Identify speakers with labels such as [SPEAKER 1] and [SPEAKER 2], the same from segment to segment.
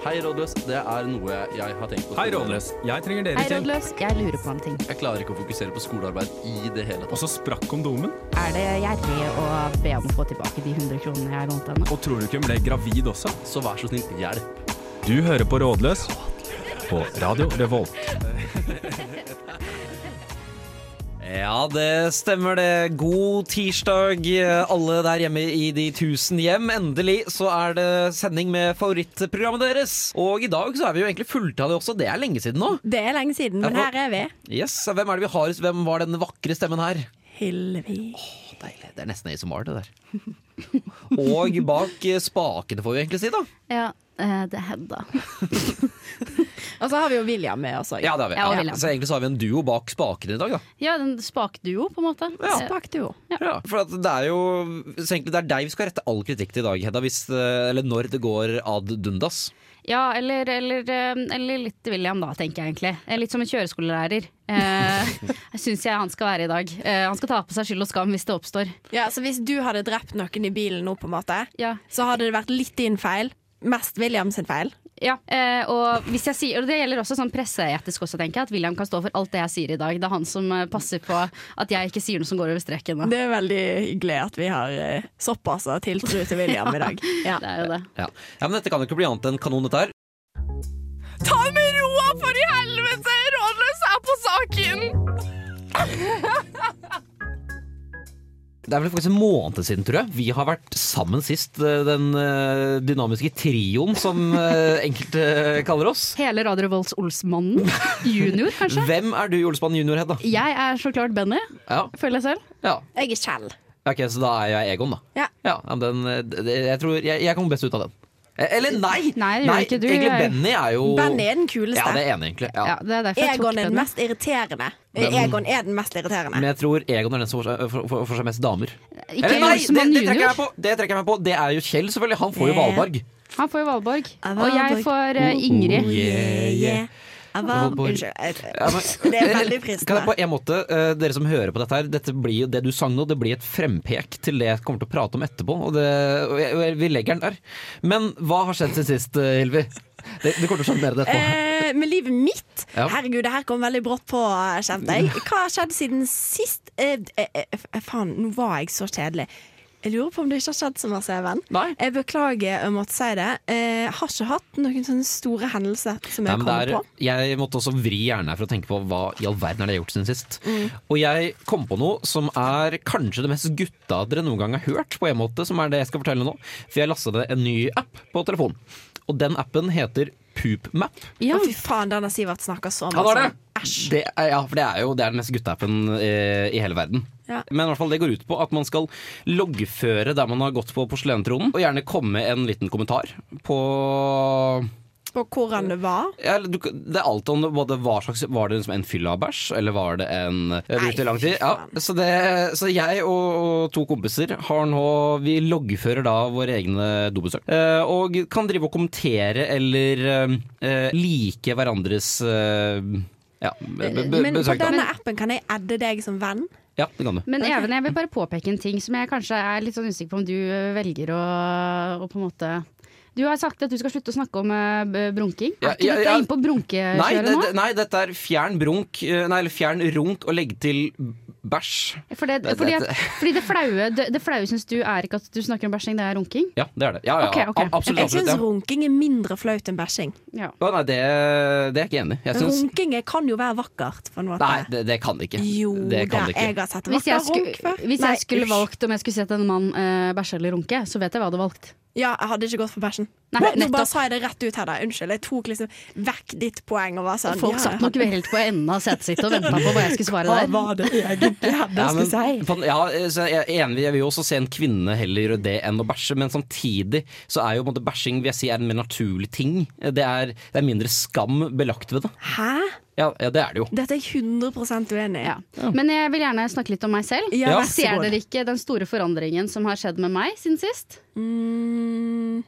[SPEAKER 1] Hei, rådløs. Det er noe jeg har tenkt på.
[SPEAKER 2] Hei, Rådløs. Jeg trenger dere
[SPEAKER 3] Hei,
[SPEAKER 2] til.
[SPEAKER 3] rådløs. Jeg lurer på en ting.
[SPEAKER 1] Jeg klarer ikke å fokusere på skolearbeid i det hele tatt.
[SPEAKER 2] Og så sprakk kondomen.
[SPEAKER 3] Er det gjerrig å be om å få tilbake de 100 kronene jeg lånte henne?
[SPEAKER 2] Og tror du ikke hun ble gravid også?
[SPEAKER 1] Så vær så snill, hjelp.
[SPEAKER 2] Du hører på Rådløs på Radio Revolt.
[SPEAKER 4] Ja, det stemmer det. God tirsdag, eh, alle der hjemme i de tusen hjem. Endelig så er det sending med favorittprogrammet deres. Og i dag så er vi jo egentlig fulltallige også. Det er lenge siden nå.
[SPEAKER 5] Det er lenge siden, men
[SPEAKER 4] Ja, for-
[SPEAKER 5] her er vi.
[SPEAKER 4] Yes, Hvem er det vi har? Hvem var den vakre stemmen her?
[SPEAKER 5] Hillevi.
[SPEAKER 4] Å, Deilig. Det er nesten ASMR, det der. Og bak eh, spakene, får vi egentlig si, da.
[SPEAKER 3] Ja, eh, det er Hedda.
[SPEAKER 5] Og så har vi jo William med oss òg.
[SPEAKER 4] Ja, det har vi.
[SPEAKER 3] Ja, og
[SPEAKER 4] Ja.
[SPEAKER 3] William.
[SPEAKER 4] Så egentlig så har vi en duo bak spakene i dag, da.
[SPEAKER 3] Ja, den spakduo, på en måte.
[SPEAKER 4] Ja.
[SPEAKER 3] Eh,
[SPEAKER 5] Spakduo.
[SPEAKER 4] Ja, for at det er jo så egentlig det er deg vi skal rette all kritikk til i dag, Hedda. Hvis, eh, eller når det går ad dundas.
[SPEAKER 3] Ja, eller, eller, eh, eller litt William, da, tenker jeg egentlig. Eh, Litt som en kjøreskolelærer. Eh, Syns jeg han skal være i dag. Eh, han skal ta på seg skyld og skam hvis det oppstår.
[SPEAKER 5] Ja, så hvis du hadde drept noen i bilen nå, på en måte,
[SPEAKER 3] Ja,
[SPEAKER 5] så hadde det vært litt din feil. Mest William sin feil.
[SPEAKER 3] ja. Eh, og, hvis jeg sier, og det gjelder også sånn presseetisk også, tenker jeg. At William kan stå for alt det jeg sier i dag. Det er han som eh, passer på at jeg ikke sier noe som går over streken. Da.
[SPEAKER 5] Det er veldig hyggelig at vi har eh, såpass av tiltro til William i dag. Ja.
[SPEAKER 3] Det er jo det.
[SPEAKER 4] Ja. ja, men dette kan jo ikke bli annet enn kanon dette her.
[SPEAKER 5] Ta med roa, for i helvete! Rådløs er på saken!
[SPEAKER 4] Det er vel faktisk en måned siden, tror jeg. Vi har vært sammen sist. eh, Den eh, dynamiske trioen, som eh, enkelte kaller oss.
[SPEAKER 3] Hele Radio Volts Olsmannen junior, kanskje?
[SPEAKER 4] Hvem er du i Olsmann junior, Hedda?
[SPEAKER 3] Jeg er så klart Benny,
[SPEAKER 4] Ja,
[SPEAKER 3] føler jeg selv.
[SPEAKER 4] ja.
[SPEAKER 5] Jeg er Kjell.
[SPEAKER 4] Ok, så da er jeg Egon, da.
[SPEAKER 5] Ja.
[SPEAKER 4] ja men den, eh, det- jeg tror jeg, jeg kommer best ut av den. Eh, Eller nei!
[SPEAKER 3] Nei, det gjør ikke du.
[SPEAKER 4] egentlig Benny er jo
[SPEAKER 5] Benny er den
[SPEAKER 4] Ja, det
[SPEAKER 5] kuleste.
[SPEAKER 4] er enig, egentlig.
[SPEAKER 3] Ja,
[SPEAKER 4] Ja.
[SPEAKER 3] det er derfor jeg tok
[SPEAKER 5] Egon er den
[SPEAKER 3] Benny.
[SPEAKER 5] mest irriterende.
[SPEAKER 4] Men-
[SPEAKER 5] Egon er den mest irriterende.
[SPEAKER 4] Men jeg tror Egon er den som får seg- får- får- får seg mest damer.
[SPEAKER 3] Ikke
[SPEAKER 4] Eller nei, det,
[SPEAKER 3] Olsmann
[SPEAKER 4] det trekker jeg meg
[SPEAKER 3] junior.
[SPEAKER 4] på! Det trekker jeg meg på Det er jo Kjell, selvfølgelig. Han får jo
[SPEAKER 5] Yeah.
[SPEAKER 4] Valborg.
[SPEAKER 3] Han får jo Valborg.
[SPEAKER 5] Ja,
[SPEAKER 3] Og jeg
[SPEAKER 5] Valborg.
[SPEAKER 4] Oh,
[SPEAKER 3] får eh, Ingrid.
[SPEAKER 4] Yeah, yeah.
[SPEAKER 5] Jeg var,
[SPEAKER 4] Valborg.
[SPEAKER 5] unnskyld. Jeg,
[SPEAKER 4] Ja, men-
[SPEAKER 5] det er veldig
[SPEAKER 4] Kan jeg
[SPEAKER 5] fristende.
[SPEAKER 4] på en måte, eh, Dere som hører på dette her, dette blir jo det du sang nå, det blir et frempek til det jeg kommer til å prate om etterpå. Og, det, og jeg, og jeg- vi legger den der. Men hva har skjedd siden sist, eh, Hilvi? Det, det kommer til å skje mer enn etterpå.
[SPEAKER 5] Eh, med livet mitt?
[SPEAKER 4] Ja.
[SPEAKER 5] Herregud, det her kom veldig brått på, eh, kjente jeg. Hva har skjedd siden sist? Eh, eh, eh, f- faen, nå var jeg så kjedelig. Jeg lurer på om det ikke har skjedd så masse, venn.
[SPEAKER 4] Nei.
[SPEAKER 5] Jeg beklager å måtte si det. Eh, har ikke hatt noen sånne store hendelser som
[SPEAKER 4] Nei,
[SPEAKER 5] jeg
[SPEAKER 4] men
[SPEAKER 5] kommer
[SPEAKER 4] det er-
[SPEAKER 5] på.
[SPEAKER 4] jeg måtte også vri hjernen her for å tenke på hva i all verden er det jeg har gjort siden sist.
[SPEAKER 5] Mm.
[SPEAKER 4] Og jeg kom på noe som er kanskje det mest gutta dere noen gang har hørt, på en måte, som er det jeg skal fortelle nå. For jeg lastet ned en ny app på telefonen. Og den appen heter Poopmap.
[SPEAKER 3] Ja.
[SPEAKER 5] Å, fy faen, den har Sivert snakka så
[SPEAKER 4] Ja,
[SPEAKER 5] mye
[SPEAKER 4] det er det.
[SPEAKER 5] om. altså. Æsj.
[SPEAKER 4] Det er, ja, for det er jo det er den mest gutteappen eh, i hele verden.
[SPEAKER 5] Ja.
[SPEAKER 4] Men i hvert fall det går ut på at man skal loggføre der man har gått på porselentronen, og gjerne komme med en liten kommentar på
[SPEAKER 5] På hvordan det var.
[SPEAKER 4] ja, eller du, Det er alt om det, både hva slags Var det liksom en fylla bæsj, eller var det en eh,
[SPEAKER 5] Nei,
[SPEAKER 4] brukte lang tid?
[SPEAKER 5] fy
[SPEAKER 4] Ja,
[SPEAKER 5] faen.
[SPEAKER 4] så, det, så jeg og, og to kompiser har nå Vi loggfører da våre egne dobesøk. Eh, og kan drive og kommentere eller eh, eh, like hverandres eh, ja, be, be,
[SPEAKER 5] Men på
[SPEAKER 4] besøk, da.
[SPEAKER 5] denne appen kan jeg adde deg som venn.
[SPEAKER 4] Ja, det kan du.
[SPEAKER 3] Men Even, jeg vil bare påpeke en ting som jeg kanskje er litt sånn usikker på om du eh, velger å, å på en måte Du har sagt at du skal slutte å snakke om eh, b- brunking.
[SPEAKER 4] Ja,
[SPEAKER 3] Er ikke
[SPEAKER 4] ja,
[SPEAKER 3] dette
[SPEAKER 4] ja.
[SPEAKER 3] inne på
[SPEAKER 4] Nei,
[SPEAKER 3] brunkekjøret
[SPEAKER 4] det,
[SPEAKER 3] nå?
[SPEAKER 4] det- nei, dette er fjern brunk eh, Nei, eller fjern runk og legg til bæsj.
[SPEAKER 3] For det,
[SPEAKER 4] det-
[SPEAKER 3] fordi,
[SPEAKER 4] det-
[SPEAKER 3] fordi det flaue, det, det flaue syns du er ikke at du snakker om bæsjing, det er runking?
[SPEAKER 4] Ja, det er det. Ja, ja,
[SPEAKER 3] Ok, ok.
[SPEAKER 4] a- Absolutt.
[SPEAKER 5] Jeg
[SPEAKER 4] absolutt
[SPEAKER 5] syns
[SPEAKER 4] ja.
[SPEAKER 5] runking er mindre flaut enn bæsjing.
[SPEAKER 3] Ja.
[SPEAKER 4] Å, nei, det, det er jeg ikke enig i. Jeg syns
[SPEAKER 5] Runking kan jo være vakkert. På en måte.
[SPEAKER 4] Nei, det, det kan det ikke.
[SPEAKER 5] Jo
[SPEAKER 4] det
[SPEAKER 5] da,
[SPEAKER 4] kan det
[SPEAKER 5] jeg
[SPEAKER 4] ikke.
[SPEAKER 5] har sett
[SPEAKER 3] Hvis jeg,
[SPEAKER 5] vakker
[SPEAKER 3] sku,
[SPEAKER 5] runk før.
[SPEAKER 3] hvis
[SPEAKER 5] Nei,
[SPEAKER 3] jeg skulle
[SPEAKER 5] usch.
[SPEAKER 3] valgt om jeg skulle sett en mann eh, bæsje eller runke, så vet jeg hva jeg hadde valgt.
[SPEAKER 5] Ja, jeg hadde ikke gått for bæsjen.
[SPEAKER 3] Nei,
[SPEAKER 5] Nå
[SPEAKER 3] nettopp.
[SPEAKER 5] bare sa jeg det rett ut her, da. Unnskyld. Jeg tok liksom vekk ditt poeng og var sånn
[SPEAKER 3] Folk
[SPEAKER 5] ja,
[SPEAKER 3] satt nok helt på enden av setet sitt og venta på hva jeg skulle svare
[SPEAKER 5] Hva
[SPEAKER 3] der.
[SPEAKER 5] var det egentlig jeg hadde
[SPEAKER 4] Ja,
[SPEAKER 5] å
[SPEAKER 4] men,
[SPEAKER 5] skulle si?
[SPEAKER 4] fan, ja, så jeg, er enig, jeg vil jo også se en kvinne heller gjøre det enn å bæsje, men samtidig så er jo på en måte bæsjing vil jeg si, er en mer naturlig ting. Det er, det er mindre skam belagt ved det.
[SPEAKER 5] Hæ?
[SPEAKER 4] Ja, ja det er det jo.
[SPEAKER 5] Dette er jeg 100 uenig i.
[SPEAKER 3] Ja. Men jeg vil gjerne snakke litt om meg selv.
[SPEAKER 5] Ja, vær så
[SPEAKER 3] Ser
[SPEAKER 5] god.
[SPEAKER 3] dere ikke den store forandringen som har skjedd med meg siden sist?
[SPEAKER 5] Mm,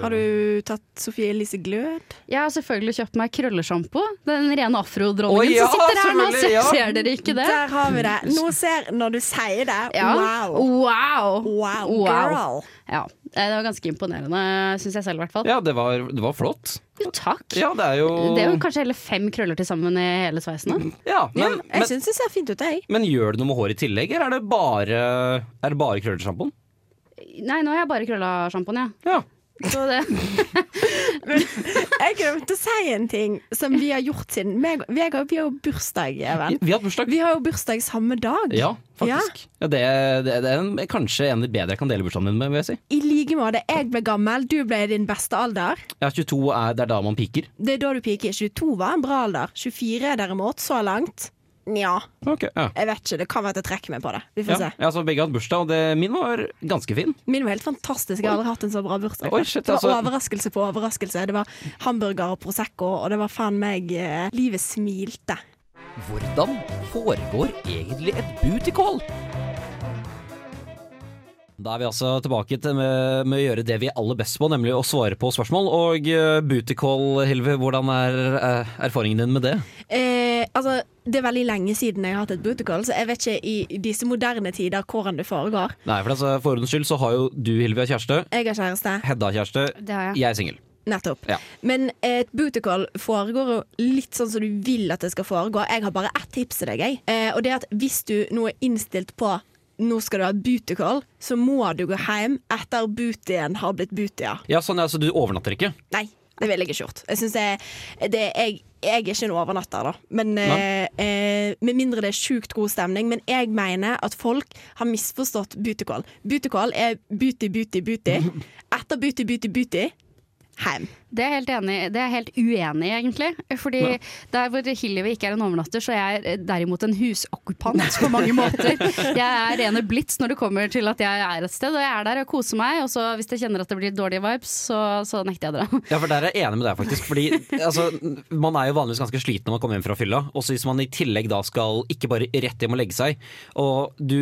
[SPEAKER 5] har du tatt Sofie Elise Glød?
[SPEAKER 3] Jeg har selvfølgelig kjøpt meg krøllesjampo. Den rene
[SPEAKER 4] Å,
[SPEAKER 3] afrodronningen
[SPEAKER 4] ja,
[SPEAKER 3] som sitter her nå.
[SPEAKER 4] selvfølgelig,
[SPEAKER 3] Ser,
[SPEAKER 4] ja.
[SPEAKER 3] ser dere ikke det?
[SPEAKER 5] Der har vi det. Nå ser Når du sier det,
[SPEAKER 3] Mm. Ja.
[SPEAKER 5] wow!
[SPEAKER 3] Wow!
[SPEAKER 5] Wow,
[SPEAKER 3] Wow.
[SPEAKER 5] girl.
[SPEAKER 3] Ja, eh, det var ganske imponerende, syns jeg selv i hvert fall.
[SPEAKER 4] Ja, det var, det var flott.
[SPEAKER 3] Jo, takk.
[SPEAKER 4] Ja, det er jo
[SPEAKER 3] Det er jo kanskje hele fem krøller til sammen i hele sveisen. da.
[SPEAKER 4] Ja,
[SPEAKER 5] Ja,
[SPEAKER 4] men,
[SPEAKER 5] jeg
[SPEAKER 4] men,
[SPEAKER 5] syns det ser fint ut, jeg.
[SPEAKER 4] men gjør det noe med håret i tillegg, eller er det bare, er det bare krøllesjampoen?
[SPEAKER 3] Nei, nå har jeg bare krølla sjampoen, ja.
[SPEAKER 4] Ja.
[SPEAKER 3] Så det,
[SPEAKER 5] Jeg glemte å si en ting som vi har gjort siden meg- Vi har vi har jo bursdag, Even.
[SPEAKER 4] Vi har hatt bursdag.
[SPEAKER 5] Vi har jo bursdag samme dag.
[SPEAKER 4] Ja, faktisk. Ja. det, det, det er en, kanskje en av de bedre jeg kan dele bursdagen min med, vil jeg si.
[SPEAKER 5] I like måte. Jeg ble gammel, du ble i din beste alder.
[SPEAKER 4] Jeg er 22, er, det er da man piker.
[SPEAKER 5] Det er da du piker. 22 var en bra alder. 24 derimot, så langt Nja,
[SPEAKER 4] ja.
[SPEAKER 5] jeg vet ikke. Det kan være at jeg trekker meg på det. Vi
[SPEAKER 4] Ja,
[SPEAKER 5] får se.
[SPEAKER 4] ja, så begge har hatt bursdag, og det, min var ganske fin.
[SPEAKER 5] Min var helt fantastisk. Jeg har aldri hatt en så bra bursdag.
[SPEAKER 4] Oi, shit,
[SPEAKER 5] det var
[SPEAKER 4] altså-
[SPEAKER 5] overraskelse på overraskelse. Det var hamburger og Prosecco, og det var faen meg eh, Livet smilte.
[SPEAKER 4] Hvordan foregår egentlig et bootycall? Da er vi altså tilbake til med, med å gjøre det vi er aller best på, nemlig å svare på spørsmål. Og eh, bootycall, Hilve, hvordan er eh, erfaringen din med det?
[SPEAKER 5] Eh, altså, det er veldig lenge siden jeg har hatt et booty call, så jeg vet ikke i disse moderne tider hvordan det foregår.
[SPEAKER 4] Nei, for altså, for ordens skyld så har jo du, Hilve, kjæreste.
[SPEAKER 5] Jeg har kjæreste.
[SPEAKER 4] Hedda har kjæreste.
[SPEAKER 3] det har jeg.
[SPEAKER 4] Jeg er singel.
[SPEAKER 5] Nettopp.
[SPEAKER 4] Ja.
[SPEAKER 5] Men eh, et booty call foregår jo litt sånn som du vil at det skal foregå. Jeg har bare ett tips til deg, jeg. Eh, og det er at hvis du nå er innstilt på nå skal du ha booty call, så må du gå hjem etter bootyen har blitt bootya.
[SPEAKER 4] Ja, sånn, ja, så du overnatter ikke?
[SPEAKER 5] Nei, det ville jeg ikke gjort. Jeg synes det, det jeg, jeg er ikke en overnatter, da. Men, eh, eh, med mindre det er sjukt god stemning. Men jeg mener at folk har misforstått bootycall. Bootycall er booty, booty, booty. Etter booty, booty, booty hjem.
[SPEAKER 3] Det er jeg helt enig i. Det er jeg helt uenig i, egentlig. Fordi der hvor Hillevi ikke er en overnatter, så er jeg derimot en husokkupant på mange måter. Jeg er rene blitz når det kommer til at jeg er et sted, og jeg er der og koser meg. Og så hvis jeg kjenner at det blir dårlige vibes, så, så nekter jeg å dra.
[SPEAKER 4] Ja, for der er jeg enig med deg, faktisk. Fordi altså, Man er jo vanligvis ganske sliten når man kommer hjem fra fylla. Og så hvis man i tillegg da skal ikke bare rett hjem og legge seg Og du,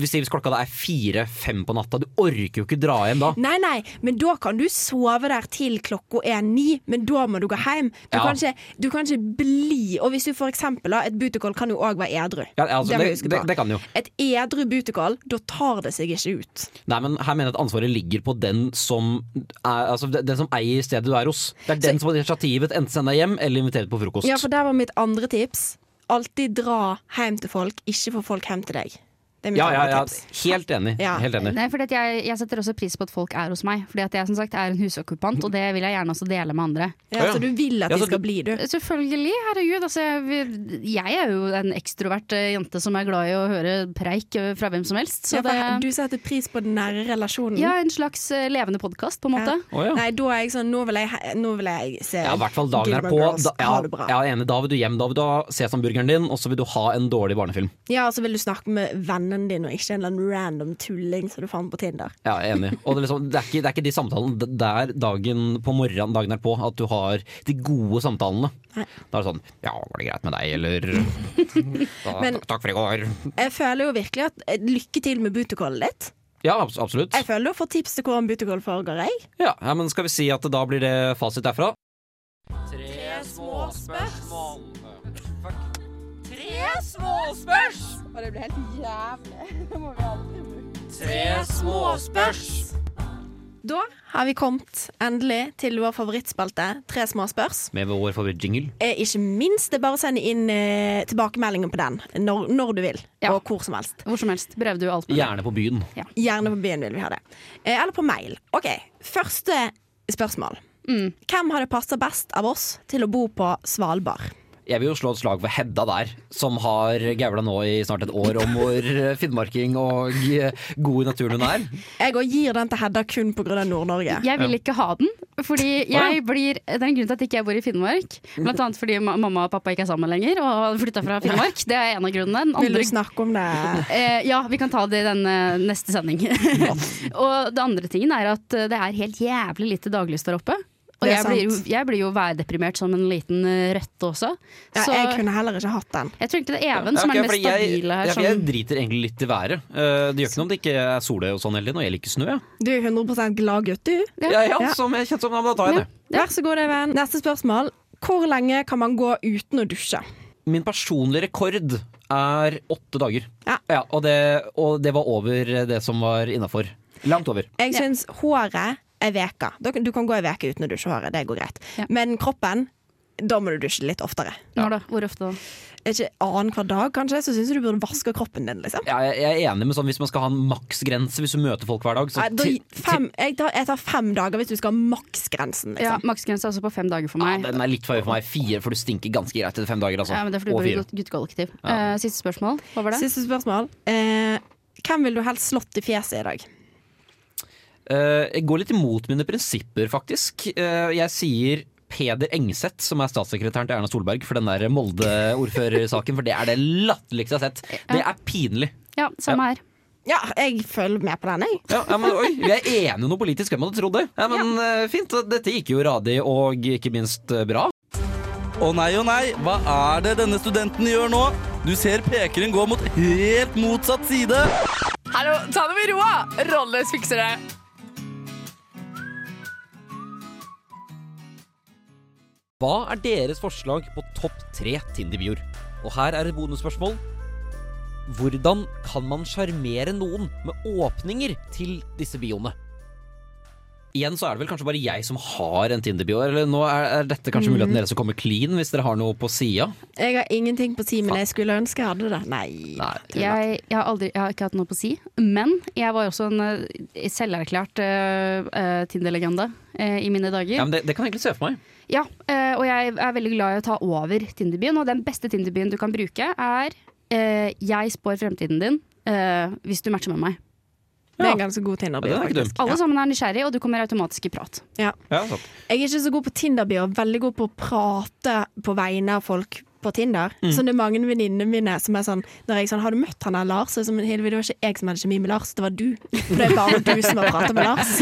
[SPEAKER 4] Hvis hvis klokka da er fire-fem på natta, du orker jo ikke dra hjem da.
[SPEAKER 5] Nei, nei, men da kan du sove der til klokka er ni, men da må du gå hjem. Du,
[SPEAKER 4] Ja.
[SPEAKER 5] kan, ikke, du kan ikke bli Og hvis du for eksempel da, Et bootycall kan jo òg være edru.
[SPEAKER 4] Ja, altså,
[SPEAKER 5] det må
[SPEAKER 4] det-
[SPEAKER 5] vi huske
[SPEAKER 4] det-
[SPEAKER 5] på.
[SPEAKER 4] det kan jo.
[SPEAKER 5] Et edru bootycall, da tar det seg ikke ut.
[SPEAKER 4] Nei, men Her mener jeg at ansvaret ligger på den som, er, altså, den som eier stedet du er hos. Det er den som har initiativet, enten send deg hjem eller inviterer på frokost.
[SPEAKER 5] Ja, for der var mitt andre tips. Alltid dra hjem til folk, ikke få folk hjem til deg. Det er mitt
[SPEAKER 4] ja, ja,
[SPEAKER 5] andre
[SPEAKER 4] ja,
[SPEAKER 5] tips.
[SPEAKER 4] Helt enig.
[SPEAKER 5] Ja.
[SPEAKER 4] Helt enig.
[SPEAKER 3] Nei, fordi at jeg, jeg setter også pris på at folk er hos meg. Fordi at jeg som sagt er en husokkupant, og det vil jeg gjerne også dele med andre.
[SPEAKER 5] Ja,
[SPEAKER 4] Ja, ja.
[SPEAKER 5] så du vil at
[SPEAKER 4] Ja,
[SPEAKER 5] de
[SPEAKER 4] så
[SPEAKER 5] skal
[SPEAKER 4] du-
[SPEAKER 5] bli, du.
[SPEAKER 3] Selvfølgelig, herregud. Altså, jeg, vil- jeg er jo en ekstrovert eh, jente som er glad i å høre preik eh, fra hvem som helst. Så
[SPEAKER 5] Ja, for
[SPEAKER 3] det
[SPEAKER 5] du setter pris på den nære relasjonen.
[SPEAKER 3] ja, en slags eh, levende podkast, på en måte.
[SPEAKER 4] Å, ja.
[SPEAKER 5] Nei, da er jeg sånn Nå vil jeg, he- nå vil jeg se
[SPEAKER 4] Ja, i hvert fall dagen er
[SPEAKER 5] Gilmore
[SPEAKER 4] på.
[SPEAKER 5] Girls.
[SPEAKER 4] Da, ja,
[SPEAKER 5] ha det bra.
[SPEAKER 4] ja, enig. Da vil du hjem, da vil du ha sesamburgeren din, og så vil du ha en dårlig barnefilm.
[SPEAKER 5] Ja, og så vil du snakke med vennen din, og ikke en eller annen random tulling som du fant på Tinder.
[SPEAKER 4] Ja, jeg er enig. Og det er, liksom, det, er ikke, det er ikke de samtalene d- der dagen på morgenen dagen er på, at du har de gode samtalene.
[SPEAKER 5] Nei.
[SPEAKER 4] Da er det sånn Ja, var det greit med deg, eller da,
[SPEAKER 5] Men-
[SPEAKER 4] takk, takk for i går.
[SPEAKER 5] Jeg føler jo virkelig at eh, Lykke til med bootycallet ditt.
[SPEAKER 4] Ja, abs- absolutt.
[SPEAKER 5] Jeg føler du får tips til hvordan bootycall foregår, jeg.
[SPEAKER 4] Ja, ja, men skal vi si at da blir det fasit derfra?
[SPEAKER 5] Da har vi kommet endelig til vår favorittspalte, Tre små spørs.
[SPEAKER 4] Med vår favorittjingle.
[SPEAKER 5] Eh, Ikke minst, det er bare å sende inn eh, tilbakemeldinger på den når, når du vil,
[SPEAKER 3] Ja.
[SPEAKER 5] og hvor som helst.
[SPEAKER 3] Hvor som helst. Brev du alt med.
[SPEAKER 4] Gjerne på byen.
[SPEAKER 5] Gjerne på byen vil vi ha det. Eh, eller på mail. Ok, Første spørsmål. Hvem hadde passa best av oss til å bo på Svalbard?
[SPEAKER 4] Jeg vil jo slå et slag for Hedda der, som har gaula nå i snart et år om hvor eh, finnmarking og eh, god i naturen hun er.
[SPEAKER 5] Jeg òg gir den til Hedda kun pga. Nord-Norge.
[SPEAKER 3] Jeg vil ikke ha den, fordi jeg blir Det er en grunn til at ikke jeg bor i Finnmark. Blant annet fordi ma- mamma og pappa ikke er sammen lenger og flytta fra Finnmark. Det er en av grunnene. Den
[SPEAKER 5] Vil
[SPEAKER 3] andre
[SPEAKER 5] du snakke om det?
[SPEAKER 3] Eh, ja, vi kan ta det i den eh, neste sending. og det andre tingen er at eh, det er helt jævlig lite daglys der oppe. Og
[SPEAKER 5] Det er
[SPEAKER 3] jeg blir, jo,
[SPEAKER 5] sant.
[SPEAKER 3] jeg blir jo værdeprimert som en liten eh, røtte også.
[SPEAKER 5] Ja,
[SPEAKER 3] Så
[SPEAKER 5] jeg kunne heller ikke hatt den.
[SPEAKER 3] jeg tror ikke det er Even som er
[SPEAKER 4] Ja, ok,
[SPEAKER 3] den mest
[SPEAKER 4] fordi jeg-
[SPEAKER 3] stabile her. sånn-
[SPEAKER 4] ja, for Jeg
[SPEAKER 3] Som,
[SPEAKER 4] driter egentlig litt i været. Eh, det gjør ikke noe om det ikke er sol og sånn hele tiden, og jeg liker snø. jeg.
[SPEAKER 5] Du er 100 glad gutt, du.
[SPEAKER 3] Ja.
[SPEAKER 4] Ja, ja,
[SPEAKER 5] Ja.
[SPEAKER 4] Som jeg kjente som, ja, men da tar jeg det.
[SPEAKER 5] Vær så god, Even. Neste spørsmål. Hvor lenge kan man gå uten å dusje?
[SPEAKER 4] Min personlige rekord er åtte dager.
[SPEAKER 5] Ja.
[SPEAKER 4] og, det, og det var over det som var innafor. Langt over.
[SPEAKER 5] Jeg syns håret er veka. Da kan- Du kan gå ei veke uten å dusje håret, det går greit.
[SPEAKER 3] Ja.
[SPEAKER 5] Men kroppen, da må du dusje litt oftere.
[SPEAKER 3] Når da? Hvor ofte da?
[SPEAKER 5] Er Ikke annenhver dag, kanskje, så syns jeg du burde vaske kroppen din, liksom.
[SPEAKER 4] Ja, jeg, jeg er enig med sånn hvis man skal ha en maksgrense hvis du møter folk hver dag. Så
[SPEAKER 5] Nei, da,
[SPEAKER 4] ti- ti-
[SPEAKER 5] fem, jeg, tar, jeg tar fem dager hvis du skal ha maksgrensen,
[SPEAKER 3] Ja,
[SPEAKER 5] liksom.
[SPEAKER 3] Maksgrense er altså på fem dager for
[SPEAKER 4] ja,
[SPEAKER 3] meg.
[SPEAKER 4] den er litt for høy for meg. Fire, for du stinker ganske greit etter fem dager. Altså.
[SPEAKER 3] Ja, men det er fordi du bor
[SPEAKER 4] Og
[SPEAKER 3] i
[SPEAKER 4] fire.
[SPEAKER 3] gutt- guttekollektiv. Eh, siste spørsmål. Hva var det?
[SPEAKER 5] Siste spørsmål. Eh, hvem ville du helst slått i fjeset i dag?
[SPEAKER 4] Eh, jeg går litt imot mine prinsipper, faktisk. Eh, jeg sier Peder Engseth, som er statssekretæren til Erna Solberg, for den der Molde-ordførersaken. For det er det latterligste jeg har sett. Det er pinlig.
[SPEAKER 3] Ja, samme her.
[SPEAKER 5] Ja, jeg følger med på den, jeg.
[SPEAKER 4] Ja, ja, men oi, Vi er enige noe politisk, hvem hadde trodd det? Ja, men eh, Fint. Dette gikk jo radig, og ikke minst eh, bra.
[SPEAKER 1] Å nei, å nei, hva er det denne studenten gjør nå? Du ser pekeren gå mot helt motsatt side.
[SPEAKER 6] Hallo, ta det med ro, da! Rolles fikser det.
[SPEAKER 4] Hva er deres forslag på topp tre Tinder-bioer? Og her er et bonusspørsmål. Hvordan kan man sjarmere noen med åpninger til disse bioene? Igjen så er det vel kanskje bare jeg som har en Tinder-bio. Eller nå er, er dette kanskje muligheten dere som kommer clean, hvis dere har noe på sida.
[SPEAKER 5] Jeg har ingenting på si, men jeg skulle ønske jeg hadde det. Nei.
[SPEAKER 3] Jeg, jeg, har aldri, jeg har ikke hatt noe på å si, men jeg var jo også en eh, selverklært uh, Tinder-legende eh, i mine dager.
[SPEAKER 4] Ja, men det, det kan jeg egentlig se for meg.
[SPEAKER 3] Ja, eh, og jeg er veldig glad i å ta over Tinderbyen, og den beste Tinderbyen du kan bruke er eh, Jeg spår fremtiden din eh, hvis du matcher med meg.
[SPEAKER 5] Det er en ganske god Tinder-bio,
[SPEAKER 4] Ja, den er ikke dum.
[SPEAKER 5] faktisk.
[SPEAKER 3] Alle sammen er nysgjerrige, og du kommer automatisk i prat.
[SPEAKER 5] Ja.
[SPEAKER 4] Ja, sant.
[SPEAKER 5] Jeg er ikke så god på Tinder-bio, veldig god på å prate på vegne av folk på Tinder. Så det er mange venninnene mine som er sånn Når jeg er sånn, har du møtt han der Lars? Så er jeg sånn, Hilde, det var ikke jeg som hadde kjemi med Lars, det var du. For det er bare du som har prata med Lars.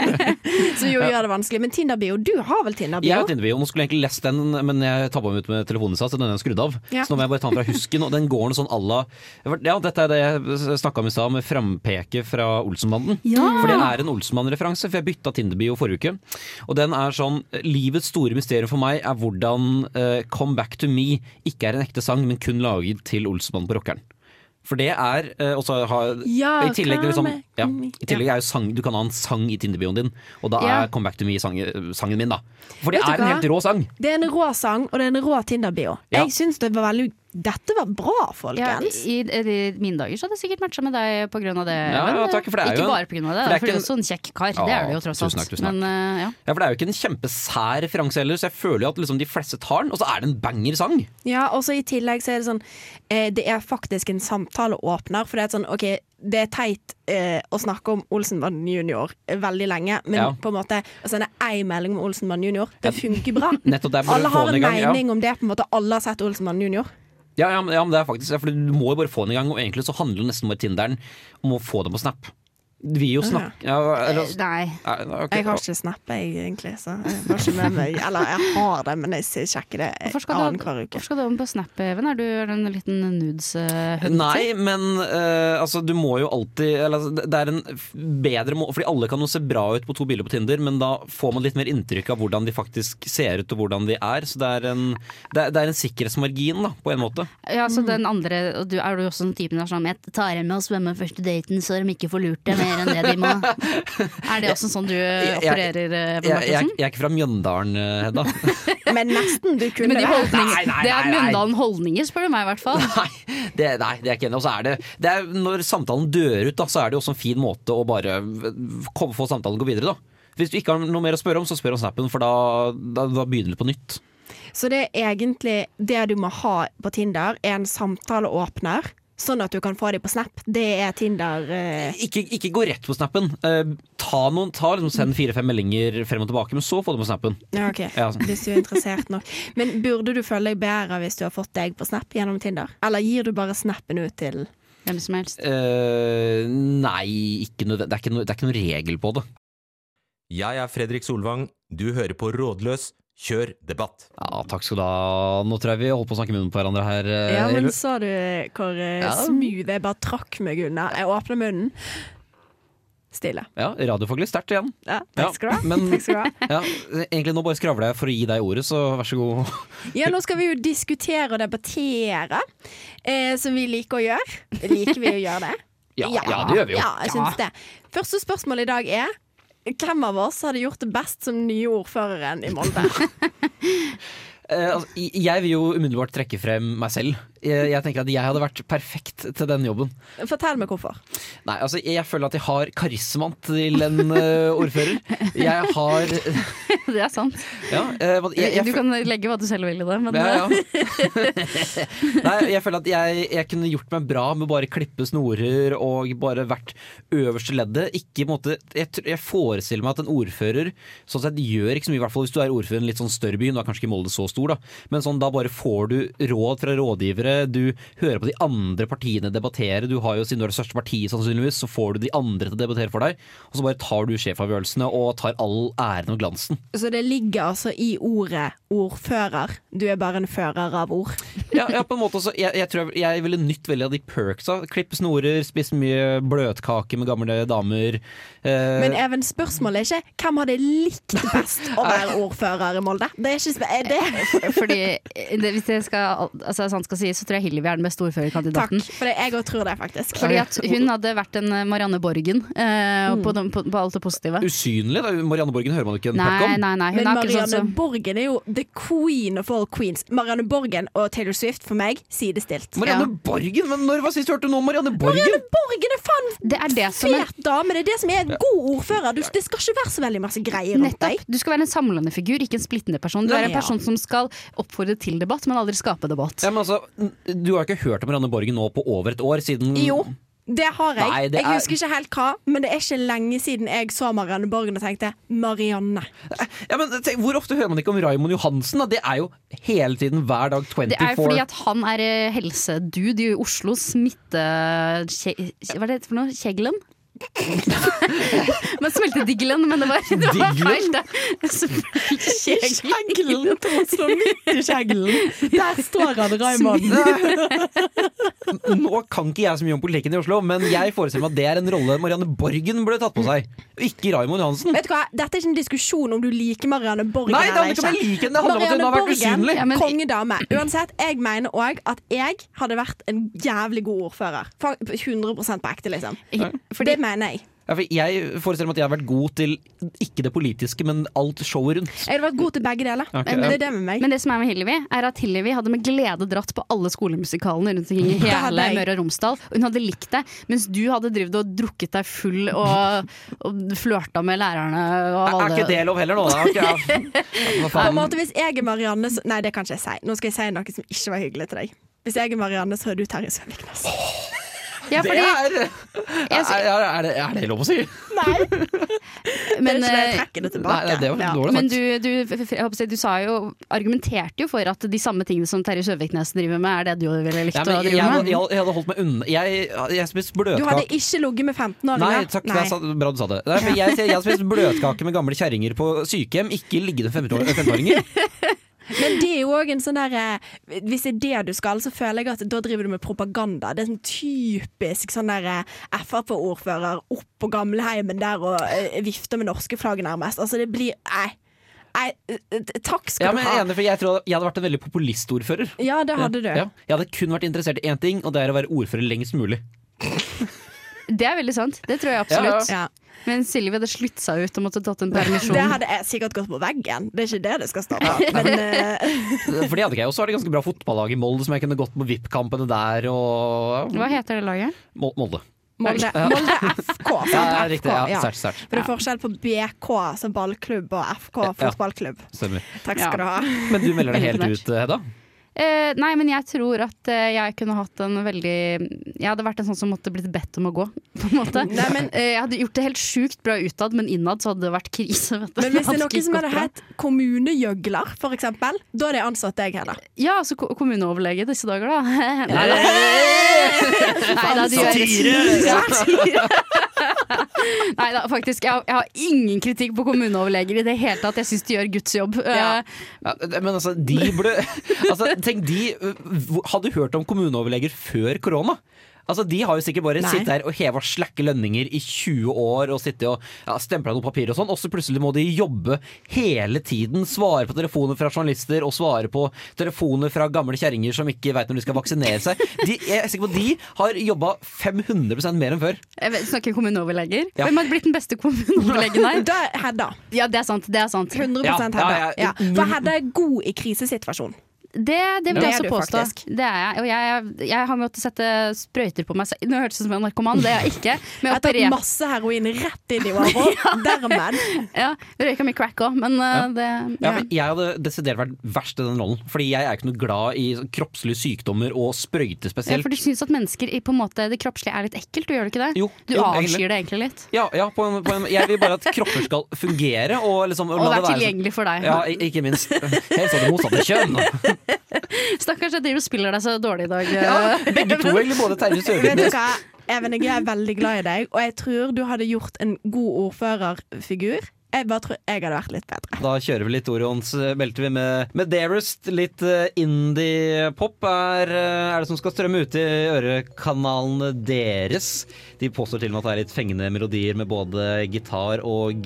[SPEAKER 5] så jo, gjør det vanskelig. Men Tinder-bio, du har vel
[SPEAKER 4] Jeg har
[SPEAKER 5] Tinder-bio?
[SPEAKER 4] Tinder-bio. Nå skulle jeg egentlig lest den, men jeg tabba meg ut med telefonen sa, så den er skrudd av.
[SPEAKER 5] Ja.
[SPEAKER 4] Så nå må jeg bare ta den fra husken, og den går noe sånn à la Ja, dette er det jeg snakka om i stad, med frampeket fra Olsenbanden. For det er en Olsenmann-referanse, for jeg bytta Tinder-bio forrige uke. Og den er sånn Livets store mysterium for meg er hvordan eh, Come Back To Me ikke er en ekte sang, men kun laget til Olsenmannen på rockeren. For det er eh, Og så har
[SPEAKER 5] Ja,
[SPEAKER 4] i tillegg, liksom,
[SPEAKER 5] come
[SPEAKER 4] ja,
[SPEAKER 5] back
[SPEAKER 4] I tillegg er jo sang, du kan ha en sang i Tinder-bioen din, og da
[SPEAKER 3] Ja.
[SPEAKER 4] er Come Back To Me sangen, sangen min, da. For det
[SPEAKER 5] Vet du
[SPEAKER 4] er en
[SPEAKER 5] hva?
[SPEAKER 4] helt rå sang.
[SPEAKER 5] Det er en rå sang, og det er en rå Tinder-bio.
[SPEAKER 4] Ja.
[SPEAKER 5] Jeg syns det var veldig Dette var bra, folkens.
[SPEAKER 3] I, i, I mine dager så hadde jeg sikkert matcha med deg pga. det.
[SPEAKER 4] Ja,
[SPEAKER 3] men,
[SPEAKER 4] ja,
[SPEAKER 3] eh,
[SPEAKER 4] takk, for det er
[SPEAKER 3] ikke
[SPEAKER 4] jo en-
[SPEAKER 3] bare pga. det,
[SPEAKER 4] for
[SPEAKER 3] da,
[SPEAKER 4] det er
[SPEAKER 3] for du er
[SPEAKER 4] ikke
[SPEAKER 3] jo også en kjekk kar.
[SPEAKER 4] Ja,
[SPEAKER 3] det er du jo tross alt.
[SPEAKER 4] tusen takk, tusen takk.
[SPEAKER 3] Men eh, ja.
[SPEAKER 4] Ja, for det er jo ikke en kjempesær referanse heller, så jeg føler jo at liksom de fleste tar den, og så er det en banger-sang.
[SPEAKER 5] Ja, og så i tillegg så er det sånn eh, Det er faktisk en samtaleåpner. For det er sånn, ok, det er teit eh, å snakke om Olsenmann junior eh, veldig lenge, men
[SPEAKER 4] Ja.
[SPEAKER 5] på en måte å sende ei melding om Olsenmann junior, det funker bra.
[SPEAKER 4] Nettopp der, bare
[SPEAKER 5] Alle
[SPEAKER 4] få
[SPEAKER 5] har
[SPEAKER 4] den i
[SPEAKER 5] en
[SPEAKER 4] gang, ja.
[SPEAKER 5] mening om det, på en måte. Alle har sett Olsenmann junior.
[SPEAKER 4] Ja, ja, men- ja men det er faktisk For du må jo bare få den i gang, og egentlig så handler nesten bare Tinderen om å få den på Snap. Vi jo snakke ja, eller,
[SPEAKER 3] Nei.
[SPEAKER 4] Nei, ok.
[SPEAKER 5] Jeg har ikke Snap, jeg, egentlig, så jeg har ikke med meg Eller jeg har det, men jeg sjekker det
[SPEAKER 3] Hvorfor skal, du,
[SPEAKER 5] annenhver uke.
[SPEAKER 3] hvorfor skal du over på Snap, Even? Er du er du en liten nudes-hunter?
[SPEAKER 4] Nei, men eh, altså, du må jo alltid eller, altså, Det det er en f- bedre må Fordi alle kan jo se bra ut på to bilder på Tinder, men da får man litt mer inntrykk av hvordan de faktisk ser ut og hvordan de er. Så det er en, det er, det er en sikkerhetsmargin, da, på en måte.
[SPEAKER 3] Ja,
[SPEAKER 4] Mm.
[SPEAKER 3] så den andre, og du, er du også den typen der sånn Jeg tar henne med og svømmer første daten så de ikke får lurt deg mer enn det de må. Er det også sånn du
[SPEAKER 4] jeg-
[SPEAKER 3] opererer, eh, Even
[SPEAKER 4] Jeg, jeg,
[SPEAKER 3] Martinsen?
[SPEAKER 4] jeg er ikke fra Mjøndalen, eh, Hedda.
[SPEAKER 5] Men nesten, du kunne
[SPEAKER 3] Men de
[SPEAKER 5] vært
[SPEAKER 3] holdningene-
[SPEAKER 4] Nei, nei,
[SPEAKER 3] det er
[SPEAKER 4] nei, nei.
[SPEAKER 3] Mjøndalen holdninger, spør du meg i hvert fall.
[SPEAKER 4] Nei, det, nei, det er ikke enig. Og så er det, det er, når samtalen dør ut, da, så er det jo også en fin måte å bare komme, få samtalen til å gå videre, da. Hvis du ikke har noe mer å spørre om, så spør om snappen, for da, da, da begynner det på nytt.
[SPEAKER 5] Så det er egentlig det du må ha på Tinder, er en samtaleåpner. Sånn at du kan få dem på Snap. Det er Tinder eh,
[SPEAKER 4] Ikke, ikke gå rett på snappen. Eh, ta noen, ta, liksom, send fire-fem meldinger frem og tilbake, men så få det på snappen.
[SPEAKER 5] ja, ok.
[SPEAKER 4] Ja, sånn.
[SPEAKER 5] Hvis du er interessert nok. Men burde du føle deg bedre hvis du har fått deg på Snap gjennom Tinder? Eller gir du bare snappen ut til
[SPEAKER 3] Hvem som helst.
[SPEAKER 4] Eh, nei, ikke nødvendig. Det, er ikke noe- det er ikke noen regel på det.
[SPEAKER 7] Jeg er Fredrik Solvang. Du hører på Rådløs. Kjør debatt.
[SPEAKER 4] Ja, takk skal du ha. Nå tror jeg vi holdt på å snakke munnen på hverandre her. eh,
[SPEAKER 5] Ja, men
[SPEAKER 4] Elve.
[SPEAKER 5] så du hvor eh,
[SPEAKER 4] Ja.
[SPEAKER 5] smooth jeg bare trakk meg unna? Jeg åpna munnen. Stille.
[SPEAKER 4] Ja, radiofaglig sterkt igjen.
[SPEAKER 5] Ja,
[SPEAKER 4] Ja,
[SPEAKER 5] takk skal du ha.
[SPEAKER 4] men-
[SPEAKER 5] Takk skal du ha.
[SPEAKER 4] Ja, egentlig nå bare skravler jeg for å gi deg ordet, så vær så god.
[SPEAKER 5] Ja, nå skal vi jo diskutere og debattere, eh, som vi liker å gjøre. Liker vi å gjøre det?
[SPEAKER 4] Ja, ja, det gjør vi jo.
[SPEAKER 5] Ja, jeg syns det. Første spørsmål i dag er hvem av oss hadde gjort det best som nye ordføreren i Molde?
[SPEAKER 4] Eh, altså, i- jeg vil jo umiddelbart trekke frem meg selv. Jeg, jeg tenker at jeg hadde vært perfekt til den jobben.
[SPEAKER 5] Fortell meg hvorfor.
[SPEAKER 4] Nei, altså jeg føler at jeg har karismaen til en eh, ordfører. Jeg har
[SPEAKER 3] Det er sant.
[SPEAKER 4] Ja, eh, jeg, jeg,
[SPEAKER 3] Du kan legge hva du selv vil i det, men
[SPEAKER 4] Ja, ja. Nei, jeg føler at jeg, jeg kunne gjort meg bra med bare klippe snorer og bare vært øverste leddet. Ikke, på en måte, jeg, tr- jeg forestiller meg at en ordfører sånn sett gjør ikke så mye, i hvert fall hvis du er ordfører i en litt sånn større by, nå er kanskje ikke Molde så stor, da. Men sånn, da bare får du råd fra rådgivere, du hører på de andre partiene debattere, du har jo, siden du er det største partiet sannsynligvis, så får du de andre til å debattere for deg, og så bare tar du sjefavgjørelsene og tar all æren og glansen.
[SPEAKER 5] Så det ligger altså i ordet ordfører. Du er bare en fører av ord.
[SPEAKER 4] ja, ja, på en måte også. Jeg, jeg tror jeg, jeg ville nytt veldig av de perksa. Klippe snorer, spise mye bløtkake med gamle damer. Eh,
[SPEAKER 5] Men Even, spørsmålet er ikke hvem hadde likt best å være ordfører i Molde? Det er ikke sp er det.
[SPEAKER 3] Fordi eh, det, Hvis det skal, altså, sant skal sies, så tror jeg Hillevi er den beste
[SPEAKER 5] Takk.
[SPEAKER 3] ordførerkandidaten.
[SPEAKER 5] For det, jeg òg tror det, faktisk.
[SPEAKER 3] Fordi at hun hadde vært en eh, Marianne Borgen eh, på, de- på, på alt det positive.
[SPEAKER 4] Mm. usynlig. Da. Marianne Borgen hører man ikke en
[SPEAKER 3] Nei,
[SPEAKER 4] pøkk om.
[SPEAKER 3] nei, nei. Hun
[SPEAKER 5] Men
[SPEAKER 3] er akkurat
[SPEAKER 5] Marianne
[SPEAKER 3] sånn som
[SPEAKER 5] Borgen er jo the queen of all queens. Marianne Borgen og Taylor Swift for meg sidestilt.
[SPEAKER 4] Marianne
[SPEAKER 3] Ja.
[SPEAKER 4] Borgen? Men når var sist du hørte noe om Marianne Borgen?
[SPEAKER 5] Marianne Borgen er faen
[SPEAKER 3] Det er det som er
[SPEAKER 5] fet dame! Det er det som er en god ordfører. Du, det skal ikke være så veldig masse greier rundt deg.
[SPEAKER 3] Nettopp. Du skal være en samlende figur, ikke en splittende person. Du
[SPEAKER 5] Nei,
[SPEAKER 3] er en
[SPEAKER 5] ja.
[SPEAKER 3] person som skal oppfordre til debatt, men aldri skape debatt.
[SPEAKER 4] Ja, men altså, du har ikke hørt om Marianne Borgen nå på over et år siden
[SPEAKER 5] Jo. Det har jeg.
[SPEAKER 4] Nei, det
[SPEAKER 5] jeg
[SPEAKER 4] er-
[SPEAKER 5] husker ikke helt hva, men det er ikke lenge siden jeg så Marianne Borgen og tenkte Marianne.
[SPEAKER 4] Ja, men tenk, Hvor ofte hører man ikke om Raymond Johansen? Da? Det er jo hele tiden, hver dag 24.
[SPEAKER 3] Det er fordi at han er eh, helsedude i Oslo. Smitte... kje- kje- Hva er det for noe? Kjeglen? Men smeltedigelen, men det var, det var feil.
[SPEAKER 4] Diglen?
[SPEAKER 3] Det.
[SPEAKER 5] Kjeglen til Oslo, midt i kjeglen. Der står han, Raymond.
[SPEAKER 4] Nå kan ikke jeg så mye om politikken i Oslo, men jeg forestiller meg at det er en rolle Marianne Borgen burde tatt på seg. Ikke Raymond Johansen.
[SPEAKER 5] Vet du hva, Dette er ikke en diskusjon om du liker Marianne Borgen
[SPEAKER 4] Nei, det
[SPEAKER 5] eller
[SPEAKER 4] handler ikke
[SPEAKER 5] ikke.
[SPEAKER 4] om jeg liker den, det handler om at hun har vært usynlig.
[SPEAKER 3] Ja, men-
[SPEAKER 5] kongedame. Uansett, jeg mener òg at jeg hadde vært en jævlig god ordfører. Fa- 100 på ekte, liksom. det mener jeg.
[SPEAKER 4] Ja, for jeg forestiller meg at jeg har vært god til ikke det politiske, men alt showet rundt.
[SPEAKER 5] Jeg hadde vært god til begge deler.
[SPEAKER 4] Ok,
[SPEAKER 5] Men
[SPEAKER 4] ja.
[SPEAKER 5] det er det med meg.
[SPEAKER 3] Men det som er med Hillevi, er at Hillevi hadde med glede dratt på alle skolemusikalene rundt omkring i hele
[SPEAKER 5] hadde jeg.
[SPEAKER 3] Møre og Romsdal. og Hun hadde likt det, mens du hadde drevet og drukket deg full og, og flørta med lærerne. Og
[SPEAKER 4] Er, er
[SPEAKER 3] alle.
[SPEAKER 4] ikke det lov heller nå, da? Ok, ja. Ja, hva
[SPEAKER 5] På en
[SPEAKER 4] faen.
[SPEAKER 5] måte, hvis jeg er Marianne, så Nei, det kan ikke jeg si. Nå skal jeg si noe som ikke var hyggelig til deg. Hvis jeg er Marianne, så er du Terje Søviknes.
[SPEAKER 3] Ja,
[SPEAKER 4] Det
[SPEAKER 3] fordi,
[SPEAKER 4] er, er, er, er, det, er det lov å si?
[SPEAKER 5] Men
[SPEAKER 3] men,
[SPEAKER 5] det er ikke det jeg
[SPEAKER 3] eh,
[SPEAKER 5] trekker det
[SPEAKER 4] Nei,
[SPEAKER 5] tilbake.
[SPEAKER 4] nei, det var
[SPEAKER 5] Ja.
[SPEAKER 4] dårlig
[SPEAKER 3] Men
[SPEAKER 4] sagt.
[SPEAKER 3] du, du, jeg håper å si, du sa jo, argumenterte jo for at de samme tingene som Terje Søviknes driver med, er det du ville likt
[SPEAKER 4] Ja, men
[SPEAKER 3] å
[SPEAKER 4] jeg, jeg,
[SPEAKER 3] drive
[SPEAKER 4] hadde-
[SPEAKER 3] med.
[SPEAKER 4] jeg, hadde- jeg hadde holdt meg unna. Jeg, jeg spiste
[SPEAKER 5] Du hadde
[SPEAKER 4] bløtkake
[SPEAKER 5] ikke ligget med
[SPEAKER 4] Nei,
[SPEAKER 5] 15-åringer.
[SPEAKER 4] takk. altså. Jeg sa, bra du sa det. Nei, for jeg, jeg hadde spist bløtkake med gamle kjerringer på sykehjem, ikke liggende 15-åringer.
[SPEAKER 5] Men det er jo òg en sånn der eh, Hvis det er det du skal, så føler jeg at da driver du med propaganda. Det er sånn typisk sånn der eh, Frp-ordfører opp på gamleheimen der og eh, vifter med norske flagg nærmest. Altså, det blir Nei. nei eh, takk skal
[SPEAKER 4] Ja, men
[SPEAKER 5] du ha.
[SPEAKER 4] jeg er enig, for jeg tror jeg hadde vært en veldig populistordfører.
[SPEAKER 5] Ja, det hadde du.
[SPEAKER 4] Ja. Jeg hadde kun vært interessert i én ting, og det er å være ordfører lengst mulig.
[SPEAKER 3] Det er veldig sant. Det tror jeg absolutt.
[SPEAKER 5] Ja.
[SPEAKER 3] Men Silje hadde slutt seg ut og måtte tatt en permisjon.
[SPEAKER 5] Det hadde jeg sikkert gått på veggen. Det er ikke det det skal stå på. Men eh,
[SPEAKER 4] For det hadde ikke jeg. Og så har de ganske bra fotballag i Molde som jeg kunne gått på VIP-kampene der og
[SPEAKER 3] Hva heter det laget?
[SPEAKER 4] Mol- Molde.
[SPEAKER 5] Molde, Molde FK. sant?
[SPEAKER 4] Ja, ja, riktig.
[SPEAKER 5] FK,
[SPEAKER 4] Ja,
[SPEAKER 5] ja.
[SPEAKER 4] sært, sært.
[SPEAKER 5] For det er forskjell på BK som ballklubb og FK fotballklubb.
[SPEAKER 4] Stemmer.
[SPEAKER 5] Takk skal du ha.
[SPEAKER 4] Men du melder deg
[SPEAKER 3] Veldig
[SPEAKER 4] helt
[SPEAKER 3] imponert.
[SPEAKER 4] ut, Hedda.
[SPEAKER 3] Eh, nei, men jeg tror at eh, jeg kunne hatt en veldig Jeg hadde vært en sånn som måtte blitt bedt om å gå, på en måte. eh, jeg hadde gjort det helt sjukt bra utad, men innad så hadde det vært krise. Vet du.
[SPEAKER 5] Men hvis det er
[SPEAKER 3] Hadde
[SPEAKER 5] noe
[SPEAKER 3] ikke
[SPEAKER 5] som
[SPEAKER 3] gått
[SPEAKER 5] hadde
[SPEAKER 3] bra.
[SPEAKER 5] hett kommunegjøgler, for eksempel, da hadde jeg ansatt deg heller.
[SPEAKER 3] Ja, altså ko- kommuneoverlege disse dager, da. Nei, da, du gjør Satire! Nei da, faktisk. Jeg har, jeg har ingen kritikk på kommuneoverleger i det hele tatt. Jeg syns de gjør Guds jobb.
[SPEAKER 5] Ja.
[SPEAKER 3] Eh,
[SPEAKER 4] Ja, men altså, de burde altså, Tenk de øh, hvor- Hadde hørt om kommuneoverleger før korona. Altså, De har jo sikkert bare
[SPEAKER 5] Nei.
[SPEAKER 4] sittet der og heva slakke lønninger i 20 år og sittet og ja, stempla noe papir og sånn, og så plutselig må de jobbe hele tiden. Svare på telefoner fra journalister og svare på telefoner fra gamle kjerringer som ikke veit når de skal vaksinere seg. De, jeg er sikker på at de har jobba 500 mer enn før.
[SPEAKER 3] Jeg vet- Snakker kommuneoverleger?
[SPEAKER 4] Ja.
[SPEAKER 3] Hvem hadde blitt den beste kommuneoverlegen her?
[SPEAKER 5] Da er Hedda.
[SPEAKER 3] Ja, det er sant. Det er sant.
[SPEAKER 5] 100
[SPEAKER 4] Ja,
[SPEAKER 5] Hedda.
[SPEAKER 4] ja,
[SPEAKER 5] Ja,
[SPEAKER 4] ja.
[SPEAKER 5] For Hedda er god i krisesituasjon.
[SPEAKER 3] Det, det vil
[SPEAKER 5] Det
[SPEAKER 3] jeg også
[SPEAKER 5] er du
[SPEAKER 3] påstå.
[SPEAKER 5] faktisk.
[SPEAKER 3] Det er jeg. Og jeg, jeg har måttet sette sprøyter på meg selv. Nå hørtes det ut som en narkoman, det er jeg ikke. Men
[SPEAKER 5] Jeg
[SPEAKER 3] jeg
[SPEAKER 5] har tatt
[SPEAKER 3] opererer
[SPEAKER 5] masse heroin rett inn i åra. Dermed.
[SPEAKER 3] ja, jeg røyka mye crack òg, men uh, det
[SPEAKER 4] Ja, men jeg hadde desidert vært verst i den rollen, fordi jeg er ikke noe glad i sånn kroppslige sykdommer og sprøyter
[SPEAKER 3] Ja,
[SPEAKER 4] spesielt.
[SPEAKER 3] For du syns at mennesker i på en måte, det kroppslige er litt ekkelt, du gjør det ikke det?
[SPEAKER 4] Jo,
[SPEAKER 3] du
[SPEAKER 4] jo,
[SPEAKER 3] avskyr
[SPEAKER 4] egentlig.
[SPEAKER 3] det egentlig litt.
[SPEAKER 4] Ja, ja på en, på en, jeg vil bare at kropper skal fungere. Og, liksom,
[SPEAKER 3] Og
[SPEAKER 4] la det
[SPEAKER 3] være
[SPEAKER 4] sånn-
[SPEAKER 3] tilgjengelig for deg.
[SPEAKER 4] Ja, i- ikke minst. Helt sånn det motsatte kjønn.
[SPEAKER 3] Stakkars, jeg driver og spiller deg så dårlig i dag.
[SPEAKER 4] Begge to, egentlig. Både Terje
[SPEAKER 5] Vet du
[SPEAKER 4] Søvik
[SPEAKER 5] hva, Even, jeg er veldig glad i deg, og jeg tror du hadde gjort en god ordførerfigur. Jeg bare tror jeg hadde vært litt bedre.
[SPEAKER 4] Da kjører vi litt Orions eh, belte, vi med, med Dearest. Litt eh, indie-pop er, eh, er det som skal strømme ut i ørekanalene deres. De påstår til og med at det er litt fengende melodier med både gitar og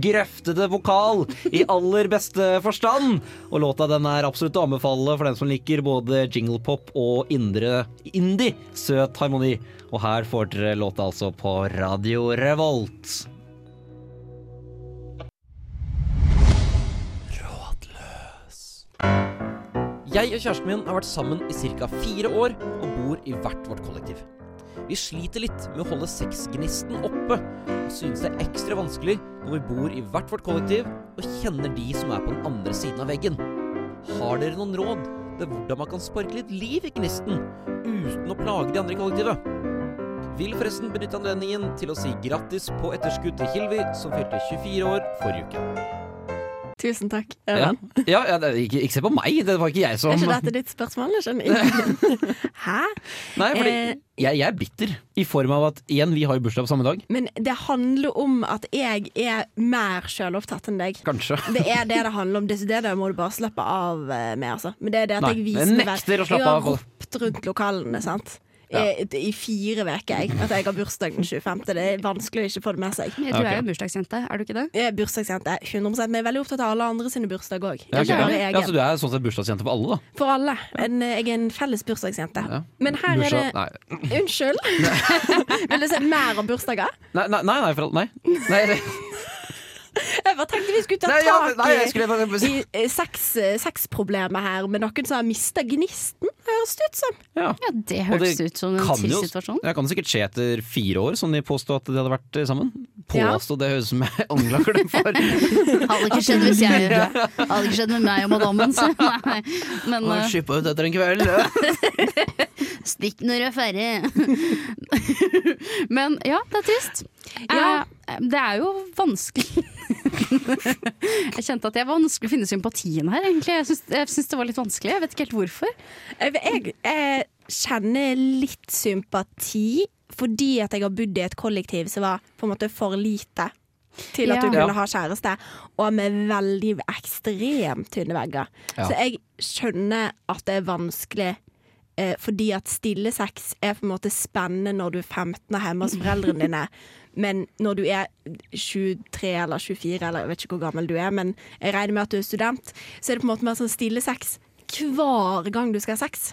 [SPEAKER 4] grøftete vokal i aller beste forstand. Og låta den er absolutt å anbefale for den som liker både jinglepop og indre indie. Søt harmoni. Og her får dere låta altså på Radio Revolt. Jeg og kjæresten min har vært sammen i ca. fire år og bor i hvert vårt kollektiv. Vi sliter litt med å holde sexgnisten oppe, og synes det er ekstra vanskelig når vi bor i hvert vårt kollektiv og kjenner de som er på den andre siden av veggen. Har dere noen råd til hvordan man kan sparke litt liv i gnisten uten å plage de andre i kollektivet? Vil forresten benytte anledningen til å si grattis på etterskudd til Hilvi, som fylte 24 år forrige uke.
[SPEAKER 5] Tusen takk.
[SPEAKER 4] Ja,
[SPEAKER 5] Even.
[SPEAKER 4] ja, ja det- ikke, ikke se på meg, det var ikke jeg som
[SPEAKER 5] Er ikke dette ditt spørsmål? Jeg skjønner ikke. Hæ?
[SPEAKER 4] Nei, fordi
[SPEAKER 5] Eh,
[SPEAKER 4] jeg, jeg er bitter. I form av at igjen, vi har jo bursdag på samme dag.
[SPEAKER 5] Men det handler om at jeg er mer sjølopptatt enn deg.
[SPEAKER 4] Kanskje.
[SPEAKER 5] Det er det det handler om. Det, det, det må du bare slappe av eh, med, altså. Men det er det at
[SPEAKER 4] Nei,
[SPEAKER 5] jeg
[SPEAKER 4] jeg
[SPEAKER 5] viser meg-
[SPEAKER 4] nekter å slappe
[SPEAKER 5] Jeg har
[SPEAKER 4] av på det.
[SPEAKER 5] ropt rundt lokalene, sant.
[SPEAKER 4] Ja.
[SPEAKER 5] I, I fire uker, jeg. At jeg har bursdag den 25. Det er vanskelig å ikke få det med seg.
[SPEAKER 3] Du er jo bursdagsjente, er du ikke det?
[SPEAKER 5] Jeg er Eh, bursdagsjente, 100 men jeg er veldig opptatt av alle andre sine bursdag òg.
[SPEAKER 4] Ja, ok.
[SPEAKER 5] Ikke bare
[SPEAKER 4] ja, så
[SPEAKER 5] egen.
[SPEAKER 4] du er sånn sett bursdagsjente for alle, da?
[SPEAKER 5] For alle. En, eh, jeg er en felles bursdagsjente.
[SPEAKER 4] Ja.
[SPEAKER 5] Men her er
[SPEAKER 4] Bursdag-
[SPEAKER 5] det Unnskyld! Vil du se mer om bursdager?
[SPEAKER 4] Nei, nei, nei, nei, for, all- nei. nei, det-
[SPEAKER 5] Jeg bare tenkte vi skulle ta
[SPEAKER 4] nei, ja,
[SPEAKER 5] tak
[SPEAKER 4] nei jeg
[SPEAKER 5] i,
[SPEAKER 4] skulle bare
[SPEAKER 5] i eh, sex- eh, sexproblemet her med noen som har mista gnisten, høres det ut som.
[SPEAKER 4] ja.
[SPEAKER 3] Ja, det
[SPEAKER 4] Og
[SPEAKER 3] høres ut som en
[SPEAKER 4] kan jo-
[SPEAKER 3] trist situasjon.
[SPEAKER 4] Det kan sikkert skje etter fire år, som de påstod at de hadde vært eh, sammen.
[SPEAKER 3] Ja.
[SPEAKER 4] Påstå, det høres ut som jeg anklager dem for.
[SPEAKER 3] Hadde ikke skjedd hvis jeg Hadde ikke skjedd med meg og madammen, så nei. Men
[SPEAKER 4] Å,
[SPEAKER 3] eh,
[SPEAKER 4] Skippa ut etter en kveld.
[SPEAKER 3] Stikk når du er ferdig. Men ja, det er trist.
[SPEAKER 5] Ja.
[SPEAKER 3] Eh, det er jo vanskelig. jeg kjente at jeg var vanskelig å finne sympatien her, egentlig. Jeg syns, jeg syns det var litt vanskelig. Jeg vet ikke helt hvorfor.
[SPEAKER 5] Jeg, jeg, jeg kjenner litt sympati fordi at jeg har bodd i et kollektiv som var på en måte for lite til at
[SPEAKER 3] Ja.
[SPEAKER 5] du
[SPEAKER 4] Ja.
[SPEAKER 5] kunne ha kjæreste, og med veldig ekstremt tynne vegger.
[SPEAKER 4] Ja.
[SPEAKER 5] Så jeg skjønner at det er vanskelig. eh, Fordi at stille sex er på en måte spennende når du er 15 og hjemme hos foreldrene dine. Men når du er 23 eller 24, eller jeg vet ikke hvor gammel du er, men jeg regner med at du er student, så er det på en måte mer sånn stille sex hver gang du skal ha sex.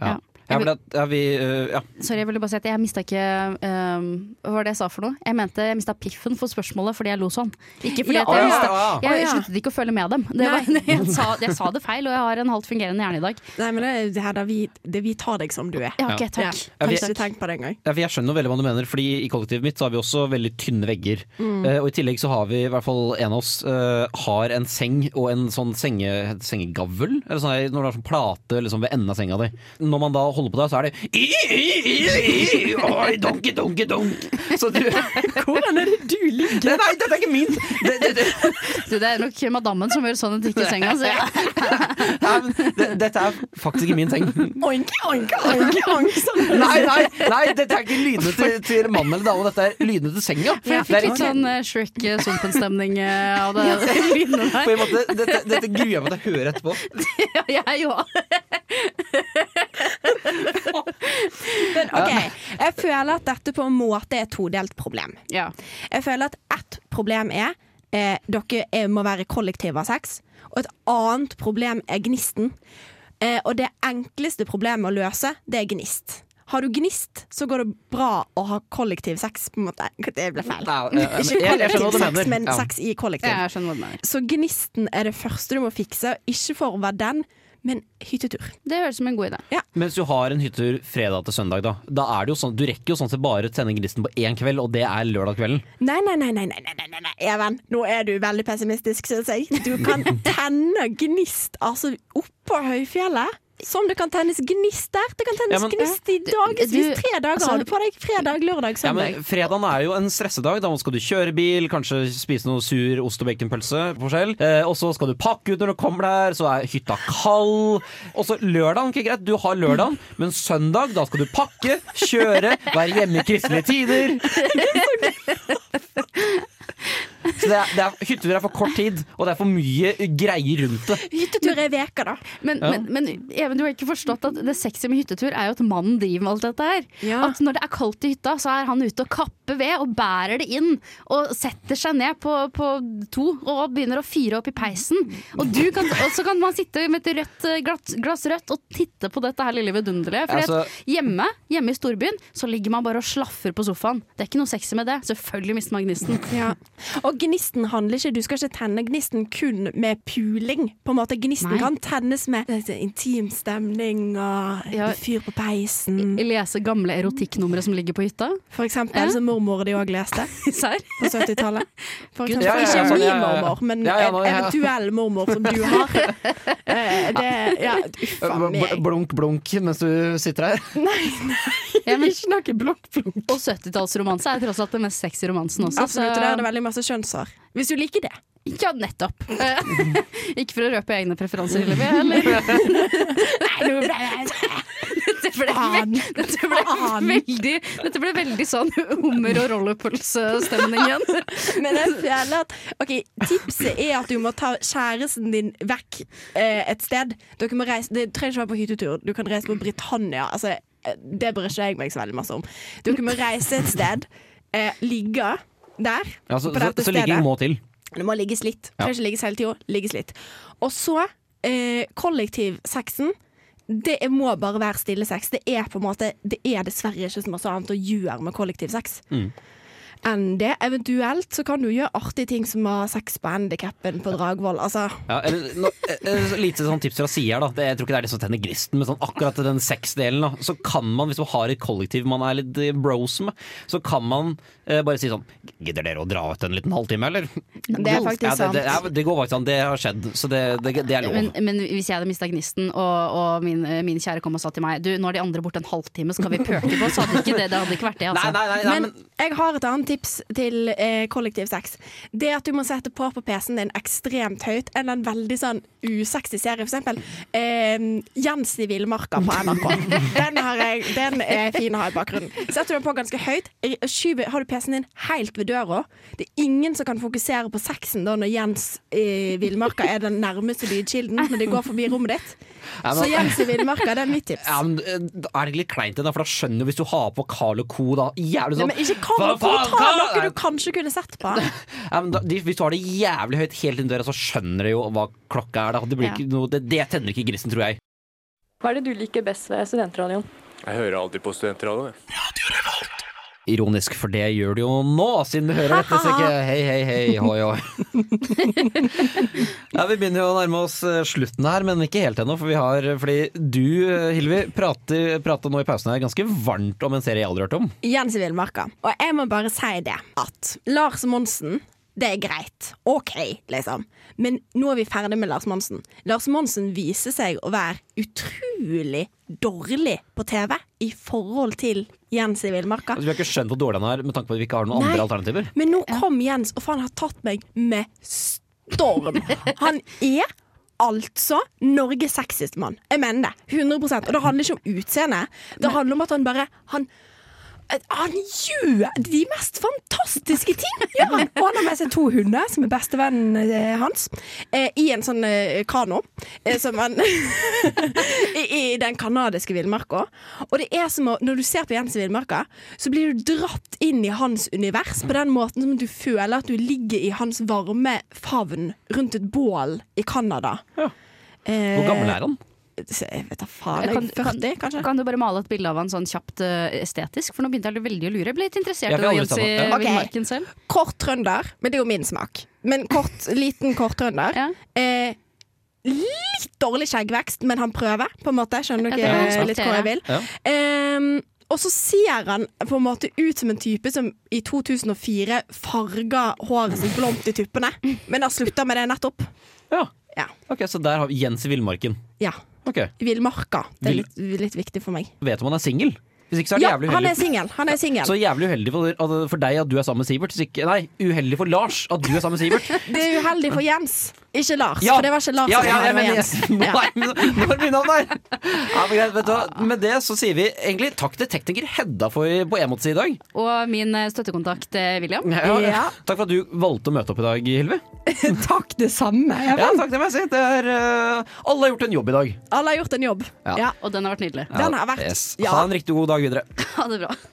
[SPEAKER 4] Ja. Ja, for det, ja, vi, eh, ja.
[SPEAKER 3] Sorry, jeg ville bare si at jeg mista ikke ehm, Hva var det jeg sa for noe? Jeg mente jeg mista piffen for spørsmålet fordi jeg lo sånn. Ikke fordi
[SPEAKER 5] Ja,
[SPEAKER 3] at jeg
[SPEAKER 5] å ja,
[SPEAKER 3] mistet-
[SPEAKER 4] å
[SPEAKER 5] ja. Å
[SPEAKER 3] Jeg
[SPEAKER 5] ja.
[SPEAKER 3] sluttet ikke å føle med dem. Det var,
[SPEAKER 5] Nei.
[SPEAKER 3] jeg, sa, jeg sa det feil, og jeg har en halvt fungerende hjerne i dag.
[SPEAKER 5] Nei, men det, er- det her, da, vi, det, vi tar deg som du er.
[SPEAKER 3] Ja, ok,
[SPEAKER 5] Ja.
[SPEAKER 3] takk.
[SPEAKER 4] Ja, vi-
[SPEAKER 5] Kanskje du tenker på det en gang.
[SPEAKER 4] Ja, for jeg skjønner jo veldig hva du mener, fordi i kollektivet mitt så har vi også veldig tynne vegger.
[SPEAKER 3] Mm.
[SPEAKER 4] Eh, og i tillegg så har vi, i hvert fall en av oss, eh, har en seng og en sånn senge, sengegavl. Eller sånn, her, når du har sånn plate liksom, ved enden av senga di. Når man da holder på der, så er det i, i, i, i, i, oi, donke, donke, donk. Så du
[SPEAKER 5] Hvordan er det du ligger?
[SPEAKER 4] Nei, nei, dette er ikke min! Det, det, det,
[SPEAKER 3] Du, det er nok madammen som gjør sånn og drikker i senga. Så jeg,
[SPEAKER 4] nei, men det, dette er faktisk ikke min seng.
[SPEAKER 5] Oink, oink, oink, oink, sånn.
[SPEAKER 4] Nei, nei, nei dette er ikke lydene til, til mannen eller dama, dette er lydene til senga.
[SPEAKER 3] For jeg
[SPEAKER 4] Det
[SPEAKER 3] fikk
[SPEAKER 4] er
[SPEAKER 3] litt sånn eh, Shrek-sumpen-stemning eh, av det lynet
[SPEAKER 4] På
[SPEAKER 3] der.
[SPEAKER 4] en måte, dette, dette gruer jeg meg til å høre etterpå.
[SPEAKER 3] Ja, jeg òg.
[SPEAKER 5] Men OK. Jeg føler at dette på en måte er et todelt problem.
[SPEAKER 3] Ja.
[SPEAKER 5] Jeg føler at ett problem er eh, dere er, må være kollektiv av sex. Og et annet problem er gnisten. Eh, og det enkleste problemet å løse, det er gnist. Har du gnist, så går det bra å ha kollektiv sex, på en måte. Det ble feil.
[SPEAKER 4] Ja, ja, ja, eh, men
[SPEAKER 5] Ikke
[SPEAKER 4] jeg- jeg skjønner hva
[SPEAKER 5] kollektiv
[SPEAKER 4] du
[SPEAKER 5] sex,
[SPEAKER 4] mener.
[SPEAKER 5] men
[SPEAKER 4] Ja.
[SPEAKER 5] sex i kollektiv.
[SPEAKER 3] Jeg skjønner hva du mener.
[SPEAKER 5] Så gnisten er det første du må fikse. og Ikke for å være den, men hyttetur.
[SPEAKER 3] Det høres ut som en god idé.
[SPEAKER 4] Mens du har en hyttetur fredag til søndag, da. Da er det jo sånn, Du rekker jo sånn sett bare å tenne gnisten på én kveld, og det er lørdag kvelden.
[SPEAKER 5] Nei, nei, nei, nei, nei, nei, nei, nei, nei. Even, nå er du veldig pessimistisk, synes jeg. Du kan tenne gnist altså oppå høyfjellet. Som det kan tennes gnist der. Det kan tennes
[SPEAKER 4] Ja, men-
[SPEAKER 5] gnist i
[SPEAKER 3] Du-
[SPEAKER 5] dagevis. Tre dager
[SPEAKER 3] altså-
[SPEAKER 5] har du på deg. Fredag, lørdag,
[SPEAKER 4] Ja,
[SPEAKER 5] søndag.
[SPEAKER 4] men Fredagen er jo en stressedag. Da skal du kjøre bil, kanskje spise noe sur ost- og baconpølse. Forskjell. Eh, og så skal du pakke ut når du kommer der, så er hytta kald. Og så lørdagen, ikke greit, du har lørdagen, men søndag, da skal du pakke, kjøre, være hjemme i kristelige tider. Så det er, det er, Hyttetur er for kort tid, og det er for mye greier rundt det.
[SPEAKER 5] Hyttetur er veka da.
[SPEAKER 3] Men,
[SPEAKER 4] Ja.
[SPEAKER 3] men, men Even, du har ikke forstått at det sexy med hyttetur er jo at mannen driver med alt dette her.
[SPEAKER 5] Ja.
[SPEAKER 3] At når det er kaldt i hytta, så er han ute og kapper ved og bærer det inn. Og setter seg ned på, på to og begynner å fyre opp i peisen. Og, du kan, og så kan man sitte med et rødt, eh, glatt, glass rødt og titte på dette her lille vidunderlige. For
[SPEAKER 4] Altså-
[SPEAKER 3] hjemme, hjemme i storbyen så ligger man bare og slaffer på sofaen. Det er ikke noe sexy med det. Selvfølgelig mister man gnisten.
[SPEAKER 5] Og gnisten handler ikke Du skal ikke tenne gnisten kun med puling. På en måte Gnisten
[SPEAKER 3] Nei.
[SPEAKER 5] kan tennes med eh, intim stemning og
[SPEAKER 3] Ja.
[SPEAKER 5] fyr på peisen.
[SPEAKER 3] Lese gamle erotikknumre som ligger på hytta.
[SPEAKER 5] For eksempel, som mormor di òg leste.
[SPEAKER 3] Serr?
[SPEAKER 5] på 70-tallet. For eksempel.
[SPEAKER 4] Ja, ja, ja,
[SPEAKER 5] ikke
[SPEAKER 4] sånn,
[SPEAKER 5] min
[SPEAKER 4] ja, ja, ja.
[SPEAKER 5] mormor, men
[SPEAKER 4] Ja, ja, nå, ja,
[SPEAKER 5] en
[SPEAKER 4] ja.
[SPEAKER 5] eventuell mormor som du har. Eh, Det, ja, uff a meg.
[SPEAKER 4] Blunk, blunk mens du sitter her.
[SPEAKER 3] Ja, men-
[SPEAKER 5] Ikke noe blokk-blokk.
[SPEAKER 3] Og 70-tallsromanse er tross alt den mest sexy romansen også.
[SPEAKER 5] Absolutt, og der er
[SPEAKER 4] Altså-
[SPEAKER 5] det veldig masse kjønnshår. Hvis du liker det.
[SPEAKER 3] Ja, nettopp. Eh, Ikke for å røpe egne preferanser, Hillevi, eller?
[SPEAKER 5] Nei, nå ble jeg
[SPEAKER 3] Dette ble,
[SPEAKER 5] Faen.
[SPEAKER 3] dette ble,
[SPEAKER 5] Faen.
[SPEAKER 3] veldig, dette ble veldig sånn hummer- og rollepølsestemning igjen.
[SPEAKER 5] Men jeg føler at OK, tipset er at du må ta kjæresten din vekk eh, et sted. Dere må reise Det trenger ikke være på hyttetur. Du kan reise på Britannia. Altså, eh, det bryr ikke jeg meg så veldig masse om. Dere må reise et sted, eh, ligge der.
[SPEAKER 4] Ja, så,
[SPEAKER 5] på
[SPEAKER 4] så,
[SPEAKER 5] dette
[SPEAKER 4] så ligger
[SPEAKER 5] stedet.
[SPEAKER 4] må til.
[SPEAKER 5] Det må ligges litt.
[SPEAKER 4] Ja.
[SPEAKER 5] Trenger ikke ligges hele tida. Ligges litt. Og så eh, kollektivsexen. Det er- må bare være stille sex. Det er på en måte Det er dessverre ikke så masse annet å gjøre med kollektivsex. Enn det. Eventuelt så kan du gjøre artige ting som å ha sex på handikappen på Dragvoll. Altså,
[SPEAKER 4] Ja, eller, nå, eh, eh, så lite sånn tips fra sida, da. Det, jeg tror ikke det er det som tenner gnisten, men sånn akkurat den sexdelen, da. Så kan man, hvis man har et kollektiv man er litt eh, bros med, så kan man eh, bare si sånn Gidder dere å dra ut en liten halvtime, eller?
[SPEAKER 5] det er faktisk
[SPEAKER 4] Ja, det,
[SPEAKER 5] sant.
[SPEAKER 4] det, ja, det går faktisk an. Det har skjedd, så det, det, det er lov.
[SPEAKER 3] Men, men hvis jeg hadde mista gnisten, og, og min, min kjære kom og sa til meg Du, nå er de andre borte en halvtime, skal vi pøke på? Så hadde ikke det, det hadde ikke vært det,
[SPEAKER 4] nei,
[SPEAKER 3] altså.
[SPEAKER 4] nei, nei, nei,
[SPEAKER 5] Men
[SPEAKER 4] men
[SPEAKER 5] jeg har et annet tips til eh, kollektiv sex. Det at du må sette på på PC-en din ekstremt høyt. En eller annen veldig sånn usexy serie, f.eks. Eh, Jens i villmarka på NRK. Den, har jeg, den er fin å ha i bakgrunnen. Setter du den på ganske høyt, r- skyver, har du PC-en din helt ved døra. Det er ingen som kan fokusere på sexen da når Jens i villmarka er den nærmeste lydkilden når de går forbi rommet ditt.
[SPEAKER 4] Ja, men-
[SPEAKER 5] Så Jens i villmarka, det er mitt tips.
[SPEAKER 4] ja, men eh, da er det ikke litt kleint igjen, da? For da skjønner du hvis du har på Carl Co, da jævlig
[SPEAKER 5] Nei,
[SPEAKER 4] sånn
[SPEAKER 5] men ikke kom
[SPEAKER 4] Hva
[SPEAKER 5] og
[SPEAKER 4] faen,
[SPEAKER 5] ta
[SPEAKER 4] Carl-
[SPEAKER 5] noe du kanskje kunne sett på.
[SPEAKER 4] Ja, men da, de, hvis du har det jævlig høyt helt inn døra, så skjønner du jo hva klokka er. Da. Det, blir
[SPEAKER 3] Ja.
[SPEAKER 4] ikke noe, det, det tenner ikke grisen, tror jeg.
[SPEAKER 8] Hva er det du liker best ved studentradioen?
[SPEAKER 9] Jeg hører alltid på studentradioen. jeg.
[SPEAKER 4] Ironisk, for det gjør du jo nå, siden du hører dette stykket. Hei, hei, hei, hoi, hoi. ja, vi begynner jo å nærme oss eh, slutten her, men ikke helt ennå. For vi har, fordi du, eh, Hilvi, prater, prater nå i pausen her ganske varmt om en serie jeg aldri har hørt om. Altså,
[SPEAKER 5] Jens i villmarka. Og jeg må bare si det at Lars Monsen det er greit. OK, liksom. Men nå er vi ferdig med Lars Monsen. Lars Monsen viser seg å være utrolig dårlig på TV i forhold til Jens i villmarka.
[SPEAKER 4] Altså, vi har ikke skjønt hvor dårlig han er, med tanke på at vi ikke har noen
[SPEAKER 5] Nei.
[SPEAKER 4] andre alternativer.
[SPEAKER 5] Men nå kom Jens, og faen har tatt meg med storm. Han er altså Norges sexiste mann. Jeg mener det. 100 Og det handler ikke om utseende. Det handler om at han bare Han, han gjør de mest fantastiske ting! Ja, og han har med seg to hunder, som er bestevennen eh, hans, eh, i en sånn eh, kano. Eh, som han i, I den kanadiske villmarka. Og det er som å, når du ser på Jens i villmarka, så blir du dratt inn i hans univers på den måten som du føler at du ligger i hans varme favn rundt et bål i Canada. Eh,
[SPEAKER 4] Hvor gammel er han?
[SPEAKER 5] Jeg vet da faen. Jeg, 40, kanskje?
[SPEAKER 3] Kan du bare male et bilde av han sånn kjapt eh, estetisk? For nå begynte jeg veldig å lure. Jeg ble litt interessert
[SPEAKER 4] Jeg
[SPEAKER 3] i
[SPEAKER 4] ble
[SPEAKER 3] Jens i
[SPEAKER 4] aldri tatt av- ja.
[SPEAKER 5] Ok.
[SPEAKER 3] villmarken selv.
[SPEAKER 5] Kort trønder, men det er jo min smak. Men kort, liten kort trønder.
[SPEAKER 3] Ja.
[SPEAKER 5] Eh, litt dårlig skjeggvekst, men han prøver, på en måte. Skjønner
[SPEAKER 3] Ja,
[SPEAKER 5] dere
[SPEAKER 3] det er
[SPEAKER 5] litt hvor jeg vil?
[SPEAKER 4] Ja.
[SPEAKER 5] Ehm, og så ser han på en måte ut som en type som i 2004 farga håret sitt blondt i tuppene, men har slutta med det nettopp.
[SPEAKER 4] Ja.
[SPEAKER 5] Ja.
[SPEAKER 4] Ok, Så der har vi Jens i villmarken.
[SPEAKER 5] ja.
[SPEAKER 4] Ok,
[SPEAKER 5] I Villmarka. Det er
[SPEAKER 4] Vill-
[SPEAKER 5] litt, litt viktig for meg.
[SPEAKER 4] Vet om han er singel? Hvis ikke så er det
[SPEAKER 5] Ja,
[SPEAKER 4] jævlig
[SPEAKER 5] han
[SPEAKER 4] uheldig.
[SPEAKER 5] er singel. Han er singel.
[SPEAKER 4] Så jævlig uheldig for, at- for deg at du er sammen med Sivert. hvis ikke- Nei, uheldig for Lars at du er sammen med Sivert.
[SPEAKER 5] Det er uheldig for Jens, ikke Lars. For det var ikke Lars
[SPEAKER 4] ja,
[SPEAKER 5] som
[SPEAKER 4] ja,
[SPEAKER 5] var
[SPEAKER 4] jeg
[SPEAKER 5] med
[SPEAKER 4] mener
[SPEAKER 5] Jens.
[SPEAKER 4] Jens. Nei, men nå er mine navn der. Ja, men greit, vet du hva. Med det så sier vi egentlig takk til tekniker Hedda for på Emots i dag.
[SPEAKER 3] Og min eh, støttekontakt eh, William.
[SPEAKER 4] Ja.
[SPEAKER 5] Ja.
[SPEAKER 4] Takk for at du valgte å møte opp i dag, Hilve.
[SPEAKER 5] Takk, det samme. Jeg
[SPEAKER 4] Ja, takk, det må jeg si. Det er, eh, alle har gjort en jobb i dag.
[SPEAKER 5] Alle har gjort en jobb.
[SPEAKER 4] Ja.
[SPEAKER 5] Ja.
[SPEAKER 3] Og den har vært nydelig.
[SPEAKER 5] Den har vært
[SPEAKER 4] Yes.
[SPEAKER 5] ja.
[SPEAKER 4] Ha en riktig god dag videre.
[SPEAKER 3] Ha det bra.